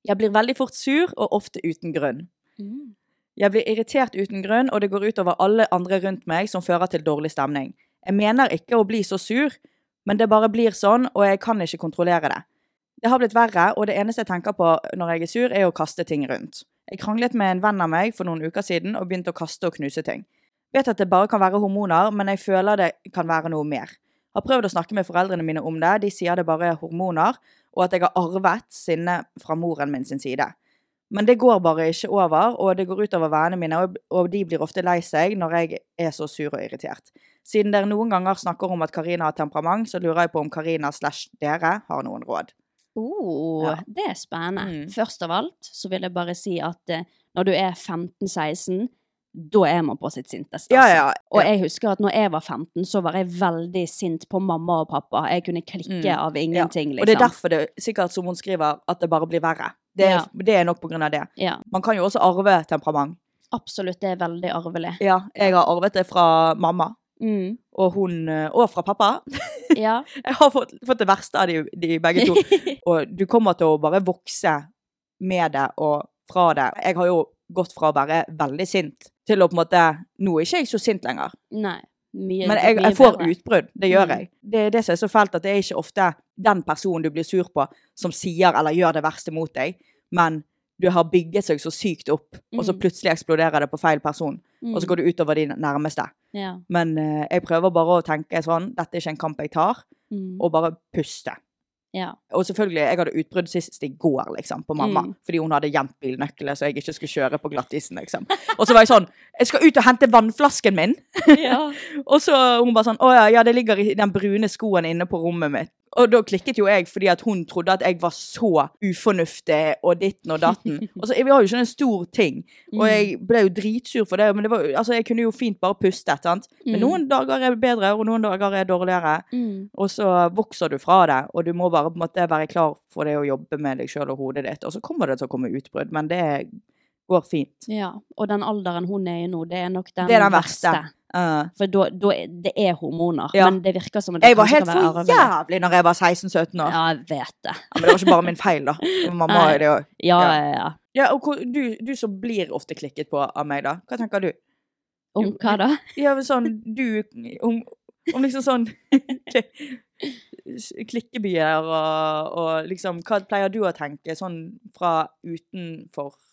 S1: Jeg blir veldig fort sur, og ofte uten grunn.
S2: Mm.
S1: Jeg blir irritert uten grunn, og det går ut over alle andre rundt meg som fører til dårlig stemning. Jeg mener ikke å bli så sur, men det bare blir sånn, og jeg kan ikke kontrollere det. Det har blitt verre, og det eneste jeg tenker på når jeg er sur, er å kaste ting rundt. Jeg kranglet med en venn av meg for noen uker siden og begynte å kaste og knuse ting. Vet at det bare kan være hormoner, men jeg føler det kan være noe mer. Har prøvd å snakke med foreldrene mine om det, de sier det bare er hormoner, og at jeg har arvet sinne fra moren min sin side. Men det går bare ikke over, og det går ut over vennene mine, og- og de blir ofte lei seg når jeg er så sur og irritert. Siden dere noen ganger snakker om at Karina har temperament, så lurer jeg på om Karina slash dere har noen råd.
S2: Oh,
S1: Ja.
S2: Det er spennende.
S1: Mm.
S2: Først av alt så vil jeg bare si at eh, når du er 15-16, da er man på sitt sinteste.
S1: Ja,
S2: altså.
S1: ja.
S2: Og
S1: ja.
S2: jeg husker at når jeg var 15, så var jeg veldig sint på mamma og pappa. Jeg kunne klikke
S1: Mm.
S2: av ingenting, liksom.
S1: Og det er derfor det sikkert, som hun skriver, at det bare blir verre. Det er, det er nok på grunn av det.
S2: Ja,
S1: Man kan jo også arve temperament.
S2: absolutt. Det er veldig arvelig.
S1: Ja, jeg har arvet det fra mamma,
S2: Mm.
S1: og hun, eh, og fra pappa.
S2: Ja.
S1: Jeg har fått, fått det verste av de, de begge to. Og du kommer til å bare vokse med det og fra det. Jeg har jo gått fra å være veldig sint til å på en måte Nå er ikke jeg så sint lenger,
S2: Nei. Mye,
S1: men jeg,
S2: mye
S1: jeg får
S2: bedre.
S1: utbrudd. Det gjør
S2: Mm.
S1: jeg. Det er det som er så fælt, at det er ikke ofte den personen du blir sur på, som sier eller gjør det verste mot deg, men du har bygget seg så sykt opp, og så
S2: Mm.
S1: plutselig eksploderer det på feil person, og så går det utover de nærmeste.
S2: Mm. Ja.
S1: Men eh, jeg prøver bare å tenke sånn, dette er ikke en kamp jeg tar,
S2: Mm.
S1: og bare puste.
S2: ja.
S1: Og selvfølgelig, jeg hadde utbrudd sist i går, liksom, på mamma.
S2: Mm.
S1: Fordi hun hadde gjemt bilnøklene, så jeg ikke skulle kjøre på glattisen, liksom. Og så var jeg sånn, jeg skal ut og hente vannflasken min!
S2: ja.
S1: Og så hun bare sånn, å ja, ja, det ligger i den brune skoen inne på rommet mitt. Og da klikket jo jeg, fordi at hun trodde at jeg var så ufornuftig, og ditten og datten. Og så, jeg har jo ikke en stor ting, og jeg
S2: Mm.
S1: ble jo dritsur for det, men det var, jo- altså, jeg kunne jo fint bare puste, sant?
S2: Mm.
S1: Men noen dager er bedre, og noen dager er dårligere.
S2: Mm.
S1: Og så vokser du fra det, og du må bare på en måte være klar for det å jobbe med deg sjøl og hodet ditt. Og så kommer det til å komme utbrudd, men det går fint.
S2: ja. Og den alderen hun er i nå, det er nok den,
S1: Det er den verste. Eh,
S2: For da, da er- det er hormoner.
S1: Ja.
S2: Men det virker som at det
S1: jeg var
S2: kanskje
S1: helt sånn,
S2: kan være
S1: for
S2: arvelig.
S1: jævlig når jeg var 16-17 år.
S2: Ja, jeg vet det.
S1: Men det var ikke bare min feil, da. Det var Mamma
S2: Nei.
S1: er det òg.
S2: Ja,
S1: Ja.
S2: ja, ja.
S1: Ja, og hvor- du, du som blir ofte klikket på av meg, da. Hva tenker du?
S2: Om hva da?
S1: Ja, men sånn du Om, om liksom sånn Klikkebyer og, og liksom Hva pleier du å tenke sånn fra utenfor sitt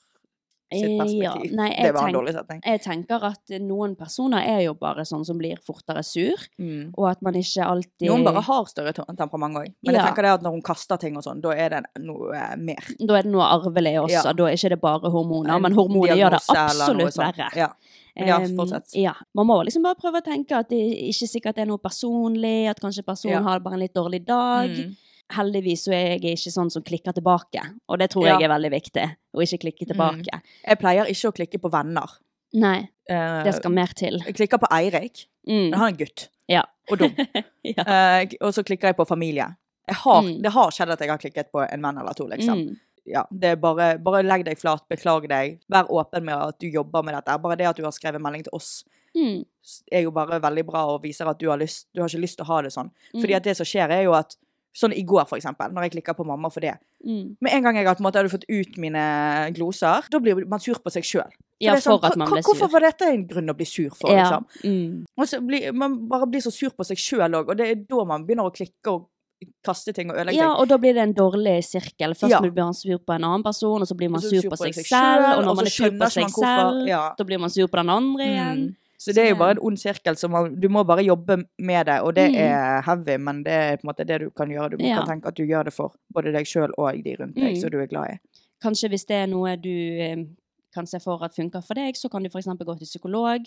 S2: Eh, Ja,
S1: perspektiv?
S2: nei, jeg
S1: det var en
S2: tenk-
S1: dårlig setning.
S2: Jeg tenker at noen personer er jo bare sånn som blir fortere sur,
S1: Mm.
S2: og at man ikke alltid
S1: Noen bare har større to- temperament òg. Men jeg
S2: Ja.
S1: tenker det at når hun kaster ting og sånn, da er det noe eh, mer.
S2: Da er det noe arvelig også,
S1: Ja.
S2: da er ikke det bare hormoner,
S1: En
S2: men hormoner gjør det
S1: diagnose eller noe
S2: absolutt
S1: sånt.
S2: verre.
S1: Ja. Men ja,
S2: Em,
S1: fortsett.
S2: ja. Man må liksom bare prøve å tenke at det ikke sikkert er noe personlig, at kanskje personen
S1: Ja.
S2: har bare en litt dårlig dag.
S1: Mm.
S2: Heldigvis så er jeg ikke sånn som klikker tilbake, og det tror
S1: Ja. Mm.
S2: jeg er veldig viktig, å ikke klikke tilbake.
S1: Jeg pleier ikke å klikke på venner.
S2: Nei,
S1: Eh,
S2: det skal mer til.
S1: Jeg klikker på Eirik.
S2: Mm.
S1: men Han er en gutt.
S2: Ja.
S1: Og dum.
S2: ja.
S1: Eh, og så klikker jeg på familie. Jeg har,
S2: Mm.
S1: Det har skjedd at jeg har klikket på en venn eller to, liksom.
S2: Mm.
S1: Ja, det er bare, bare legg deg flat, beklag deg, vær åpen med at du jobber med dette. Bare det at du har skrevet melding til oss,
S2: Mm.
S1: s- er jo bare veldig bra og viser at du har, lyst, du har ikke lyst til å ha det sånn. Fordi
S2: Mm.
S1: at det som skjer, er jo at Sånn i går, for eksempel, når jeg klikker på mamma for det.
S2: Mm.
S1: Med en gang jeg har på en måte hadde fått ut mine gloser, da blir man sur på seg sjøl.
S2: Ja, for at man blir sur.
S1: sånn, Hvorfor var dette en grunn å bli sur for,
S2: Ja.
S1: liksom?
S2: Mm.
S1: Og så blir, man bare blir så sur på seg sjøl òg, og det er da man begynner å klikke og kaste ting og ødelegge
S2: Ja, og da blir det en dårlig sirkel. Først
S1: Ja.
S2: blir man sur på en annen person, og så blir man
S1: Og så
S2: sur, på seg selv, og når
S1: så
S2: man er sur
S1: skjønner
S2: på
S1: ikke
S2: seg
S1: man hvorfor-
S2: selv,
S1: ja.
S2: da blir man sur på den andre igjen.
S1: Mm. Så det er jo
S2: Så-
S1: bare en ond sirkel, så man, du må bare jobbe med det. Og det
S2: Mm.
S1: er heavy, men det er på en måte det du kan gjøre. Du
S2: Ja.
S1: kan tenke at du gjør det for både deg sjøl og de rundt deg
S2: Mm.
S1: som du er glad i.
S2: Kanskje hvis det er noe du eh, kan se for at funker for deg, så kan du f.eks. gå til psykolog,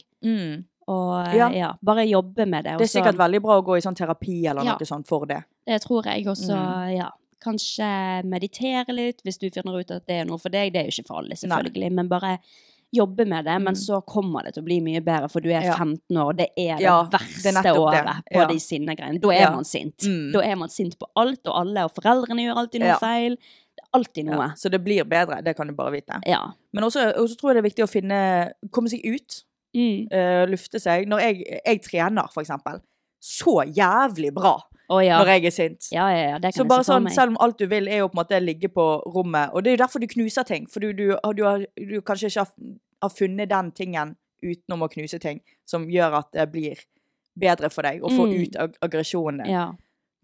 S2: og eh,
S1: Ja.
S2: ja. bare jobbe med det.
S1: Det er
S2: og så-
S1: sikkert veldig bra å gå i sånn terapi eller
S2: Ja.
S1: noe sånt for det.
S2: Det tror jeg også,
S1: Mm.
S2: ja. Kanskje meditere litt, hvis du finner ut at det er noe for deg. Det er jo ikke for alle, selvfølgelig, men bare jobbe med det. Men så kommer det til å bli mye bedre, for du er
S1: Mm. Ja.
S2: 15 år, og det er det
S1: Ja, det er
S2: verste
S1: nettopp det.
S2: året på
S1: Ja.
S2: de sinnegreiene. Da er
S1: Ja.
S2: man sint.
S1: Mm.
S2: Da er man sint på alt og alle, og foreldrene gjør alltid noe
S1: Ja.
S2: feil. Det er alltid noe.
S1: Ja. Så det blir bedre, det kan du bare vite.
S2: Ja.
S1: Men også, også tror jeg det er viktig å finne Komme seg ut.
S2: Mm.
S1: eh, lufte seg. Når jeg, jeg trener, for eksempel, så jævlig bra
S2: Å ja.
S1: når jeg er sint.
S2: ja, ja, ja, det kan
S1: Så
S2: jeg
S1: bare
S2: se for
S1: sånn,
S2: meg.
S1: selv om alt du vil er jo på en måte ligge på rommet, og det er jo derfor du knuser ting, for du, du, du, har, du kanskje ikke har, har funnet den tingen utenom å knuse ting, som gjør at det blir bedre for deg å få
S2: Mm.
S1: ut ag aggresjonen din.
S2: Ja.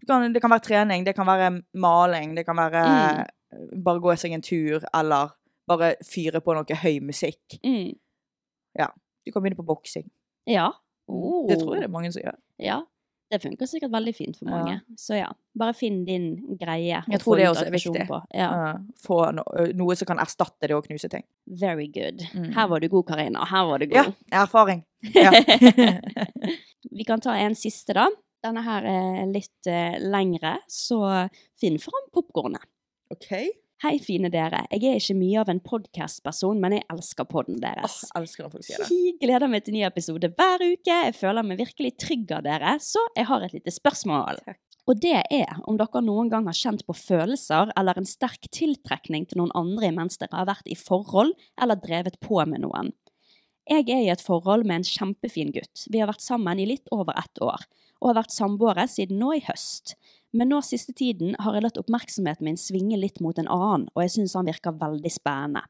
S1: Du kan, det kan være trening, det kan være maling, det kan være bare gå seg en tur, eller bare fyre på noe høy musikk.
S2: Mm.
S1: Du kan begynne på boksing.
S2: ja.
S1: Mm,
S2: Oh.
S1: Det tror jeg det er mange som gjør.
S2: Ja, det funker sikkert veldig fint for
S1: Ja.
S2: mange. Så ja, bare finn din greie.
S1: Jeg
S2: og
S1: tror
S2: få
S1: det
S2: ut
S1: også er
S2: aggresjon
S1: viktig.
S2: På. Ja.
S1: Eh, få no noe som kan erstatte det å knuse ting.
S2: Very good.
S1: Mm.
S2: Her var du god, Karina. Her var du god.
S1: Ja, erfaring. Ja.
S2: Vi kan ta en siste, da. Denne her er litt eh, lengre, så finn fram popkornet.
S1: OK.
S2: Hei, fine dere. Jeg er ikke mye av en podcast-person, men jeg elsker podden
S1: Åh,
S2: deres.
S1: elsker når folk sier det.
S2: Jeg gleder meg til ny episode hver uke. Jeg føler meg virkelig trygg av dere, så jeg har et lite spørsmål. Og det er om dere noen gang har kjent på følelser eller en sterk tiltrekning til noen andre mens dere har vært i forhold eller drevet på med noen. Jeg er i et forhold med en kjempefin gutt. Vi har vært sammen i litt over ett år, og har vært samboere siden nå i høst. Men nå siste tiden har jeg latt oppmerksomheten min svinge litt mot en annen, og jeg syns han virker veldig spennende.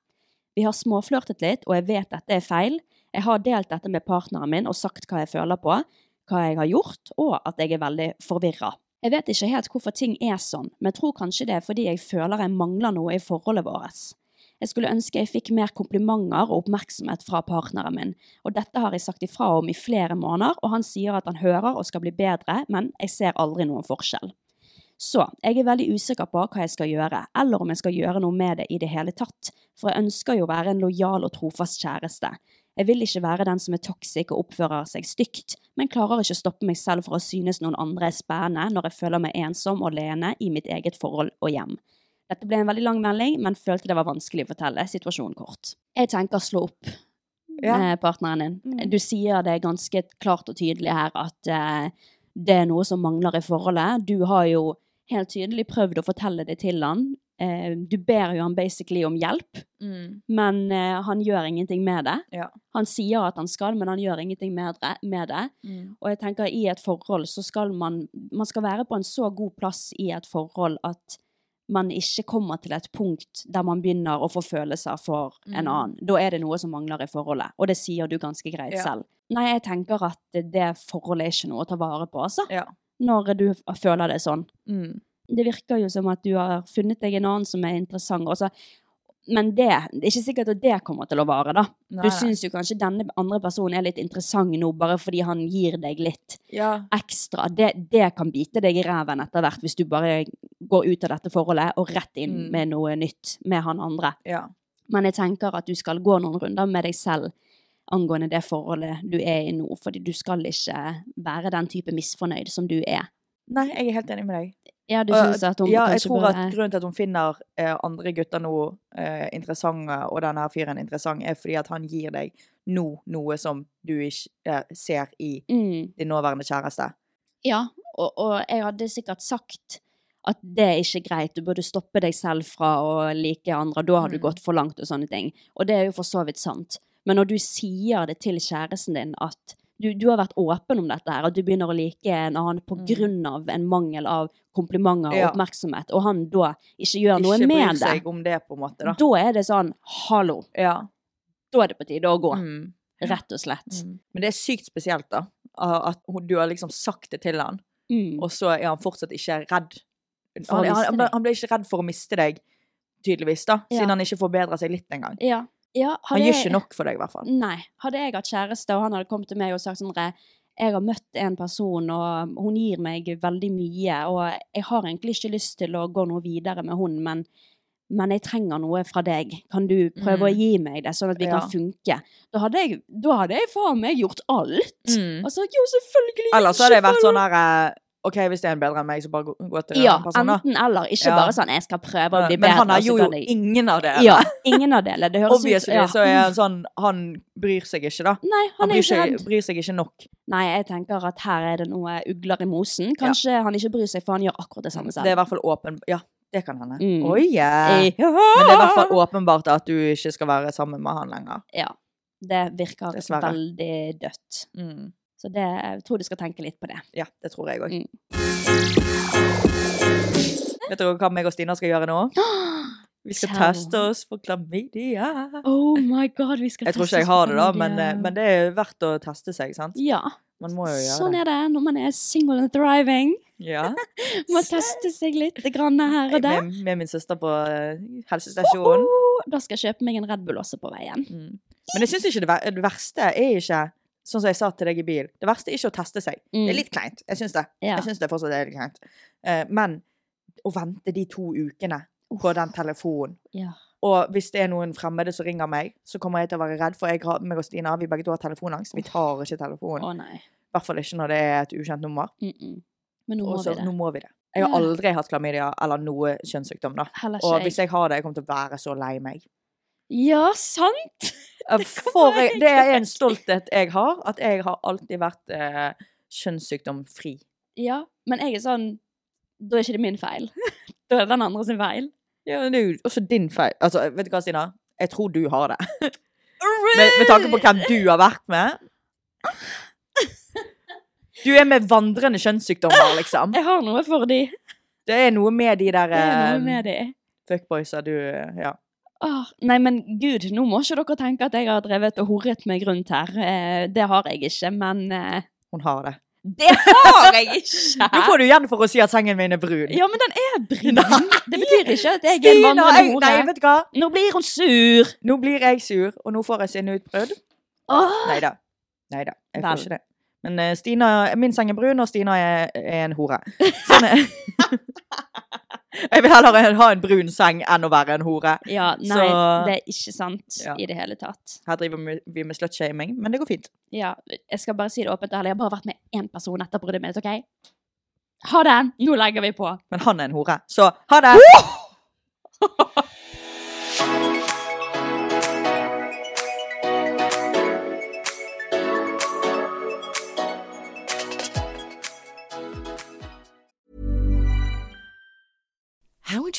S2: Vi har småflørtet litt, og jeg vet dette er feil. Jeg har delt dette med partneren min og sagt hva jeg føler på, hva jeg har gjort, og at jeg er veldig forvirra. Jeg vet ikke helt hvorfor ting er sånn, men tror kanskje det er fordi jeg føler jeg mangler noe i forholdet vårt. Jeg skulle ønske jeg fikk mer komplimenter og oppmerksomhet fra partneren min, og dette har jeg sagt ifra om i flere måneder, og han sier at han hører og skal bli bedre, men jeg ser aldri noen forskjell. Så jeg er veldig usikker på hva jeg skal gjøre, eller om jeg skal gjøre noe med det i det hele tatt, for jeg ønsker jo å være en lojal og trofast kjæreste. Jeg vil ikke være den som er toxic og oppfører seg stygt, men klarer ikke å stoppe meg selv for å synes noen andre er spennende når jeg føler meg ensom og alene i mitt eget forhold og hjem. Dette ble en veldig lang melding, men følte det var vanskelig å fortelle situasjonen kort. Jeg tenker slå opp
S1: Ja.
S2: med partneren din.
S1: Mm.
S2: Du sier det ganske klart og tydelig her at eh, det er noe som mangler i forholdet. Du har jo helt tydelig prøvd å fortelle det til han. eh, eh, Du ber jo han basically om hjelp,
S1: Mm.
S2: men eh, han gjør ingenting med det.
S1: Ja.
S2: Han sier at han skal, men han gjør ingenting med det. Med det.
S1: Mm.
S2: Og jeg tenker i et forhold så skal man Man skal være på en så god plass i et forhold at man ikke kommer til et punkt der man begynner å få følelser for en
S1: Mm.
S2: annen. Da er det noe som mangler i forholdet, og det sier du ganske greit
S1: Ja.
S2: selv. Nei, jeg tenker at det forholdet er ikke noe å ta vare på, altså.
S1: Ja.
S2: Når du f- føler det sånn.
S1: Mm.
S2: Det virker jo som at du har funnet deg en annen som er interessant, altså. Men det, det er ikke sikkert at det kommer til å vare, da.
S1: Nei,
S2: Du
S1: nei.
S2: syns jo kanskje denne andre personen er litt interessant nå, bare fordi han gir deg litt
S1: Ja.
S2: ekstra, det, det kan bite deg i ræven etter hvert hvis du bare går ut av dette forholdet og rett inn
S1: Mm.
S2: med noe nytt med han andre.
S1: Ja.
S2: Men jeg tenker at du skal gå noen runder med deg selv angående det forholdet du er i nå, fordi du skal ikke være den type misfornøyd som du er.
S1: Nei, jeg er helt enig med deg.
S2: Ja, du
S1: Og
S2: syns at hun
S1: ja, jeg
S2: kanskje
S1: tror
S2: burde
S1: at grunnen til at hun finner eh, andre gutter nå eh, interessante, og denne her fyren interessant, er fordi at han gir deg nå noe som du ikke eh, ser i
S2: mm,
S1: din nåværende kjæreste.
S2: Ja, og, og jeg hadde sikkert sagt at det er ikke greit, du burde stoppe deg selv fra å like andre, da har du
S1: Mm.
S2: gått for langt og sånne ting. Og det er jo for så vidt sant. Men når du sier det til kjæresten din at du, du har vært åpen om dette her, at du begynner å like en annen på
S1: Mm.
S2: grunn av en mangel av komplimenter og
S1: Ja.
S2: oppmerksomhet, og han da ikke gjør noe
S1: ikke bryr
S2: med det,
S1: seg om det, på en måte, da.
S2: da er det sånn, hallo,
S1: Ja.
S2: da er det på tide å gå,
S1: Mm.
S2: rett og slett.
S1: Mm. Men det er sykt spesielt, da. a- At hun- du har liksom sagt det til han,
S2: Mm.
S1: og så er han fortsatt ikke redd.
S2: For å
S1: Han,
S2: miste
S1: han, ble-
S2: deg.
S1: han ble ikke redd for å miste deg, tydeligvis, da.
S2: Ja.
S1: Siden han ikke forbedrer seg litt engang.
S2: Ja. Ja, har
S1: Han gjør
S2: det-
S1: ikke nok for deg, i hvert fall.
S2: Nei. Hadde jeg hatt kjæreste, og han hadde kommet til meg og sagt sånn Re, jeg har møtt en person, og hun gir meg veldig mye, og jeg har egentlig ikke lyst til å gå noe videre med hun, men, men jeg trenger noe fra deg. Kan du prøve å
S1: Mm.
S2: gi meg det, sånn at vi
S1: Ja.
S2: kan funke? Da hadde jeg, da hadde jeg faen meg gjort alt.
S1: Mm.
S2: Altså, jo, selvfølgelig.
S1: Ellers så hadde jeg
S2: ikke
S1: vært
S2: for-
S1: sånn her eh, OK, hvis det er en bedre enn meg, så bare gå, gå til den
S2: Ja,
S1: personen, da.
S2: enten eller. Ikke
S1: Ja.
S2: bare sånn 'jeg skal prøve å bli
S1: Men
S2: bedre',
S1: han har
S2: og så
S1: jo
S2: kan
S1: jo
S2: jeg-
S1: ingen av det.
S2: Ja, ingen av delene. Det høres ut
S1: Obviously
S2: ja.
S1: så er han sånn Han bryr seg ikke, da.
S2: Nei, han,
S1: Han
S2: er jo
S1: bryr
S2: ikke
S1: seg,
S2: redd.
S1: bryr seg ikke nok.
S2: Nei, jeg tenker at her er det noe ugler i mosen. Kanskje han ikke bryr seg, for han gjør akkurat det samme
S1: Det
S2: selv.
S1: er i hvert fall åpen... Ja, det kan hende.
S2: Mm.
S1: Oi, eh.
S2: Eh,
S1: Men det er i hvert fall åpenbart at du ikke skal være sammen med han lenger.
S2: Ja. Det virker
S1: Dessverre.
S2: veldig dødt. Så det, jeg tror du skal tenke litt på det.
S1: Mm. Ja, det tror jeg òg.
S2: Mm.
S1: Vet dere hva meg og Stina skal gjøre nå? Vi skal
S2: Tell.
S1: teste oss for klamydia.
S2: Oh my god, vi skal
S1: Jeg tror ikke jeg har det, da, men, eh, men det er verdt å teste seg, sant?
S2: Ja.
S1: Man må jo gjøre
S2: Sånn
S1: det.
S2: er det når man er single and thriving.
S1: Ja.
S2: Må teste seg litt grann her og der.
S1: Med, med min søster på eh, helsestasjonen.
S2: Oh, da skal jeg kjøpe meg en Red Bull også på veien.
S1: Mm. Men jeg syns ikke det, ver det verste er ikke Sånn som jeg sa til deg i bil, det verste er ikke å teste seg. Det er
S2: Mm.
S1: litt kleint. Jeg syns det.
S2: Ja.
S1: Jeg synes det fortsatt er litt kleint. Eh, men å vente de to ukene på den telefonen
S2: Ja.
S1: Og hvis det er noen fremmede som ringer meg, så kommer jeg til å være redd, for jeg har, meg og Stina vi begge to har telefonangst. Vi tar ikke
S2: Å
S1: telefonen.
S2: nei.
S1: I hvert fall ikke når det er et ukjent nummer.
S2: Mm -mm. Men nå må
S1: Og så
S2: vi
S1: nå
S2: det.
S1: må vi det. Jeg har
S2: Ja.
S1: aldri hatt klamydia eller noe kjønnssykdom, da.
S2: Heller
S1: Og
S2: ikke jeg.
S1: hvis jeg har det, jeg kommer til å være så lei meg. Eh,
S2: Ja, sant!
S1: For jeg, det er en
S2: ikke.
S1: stolthet jeg har, at jeg har alltid vært eh, kjønnssykdomfri.
S2: Ja, men jeg er sånn Da er ikke det min feil. Da er det den andre sin feil.
S1: Ja, men det er jo også din feil. Altså, vet du hva, Stina? Jeg tror du har det. Med, med tanke på hvem du har vært med. Du er med vandrende kjønnssykdommer, liksom.
S2: Jeg har noe for de.
S1: Det er noe med de der
S2: Det er noe
S1: eh,
S2: med de.
S1: fuckboysa du Ja.
S2: Åh, nei, men gud, nå må ikke dere tenke at jeg har drevet og horret meg rundt her. Eh, det har jeg ikke, men eh,
S1: Hun har det.
S2: Det har jeg ikke!
S1: Nå får du igjen for å si at sengen min er brun.
S2: Ja, men den er brun.
S1: Nei.
S2: Det betyr ikke at jeg er en
S1: Stina, jeg-
S2: vandrende
S1: Nei,
S2: hore.
S1: vet du hva?
S2: Nå blir hun sur.
S1: Nå blir jeg sur, og nå får jeg sinneutbrudd.
S2: Åh,
S1: Nei da. Nei da. Jeg får
S2: Vel.
S1: ikke det. Men eh, Stina, min seng er brun, og Stina er, er en hore. Sånn er Jeg vil heller ha en brun seng enn å være en hore.
S2: Ja, nei,
S1: Så-
S2: det er ikke sant
S1: Ja.
S2: i det hele tatt.
S1: Her driver vi- vi med slutshaming, men det går fint.
S2: Ja, jeg skal bare si det åpent og ærlig. Jeg har bare vært med én person etter bruddet mitt, OK? Ha det! Nå legger vi på.
S1: Men han er en hore, så ha det!
S4: How would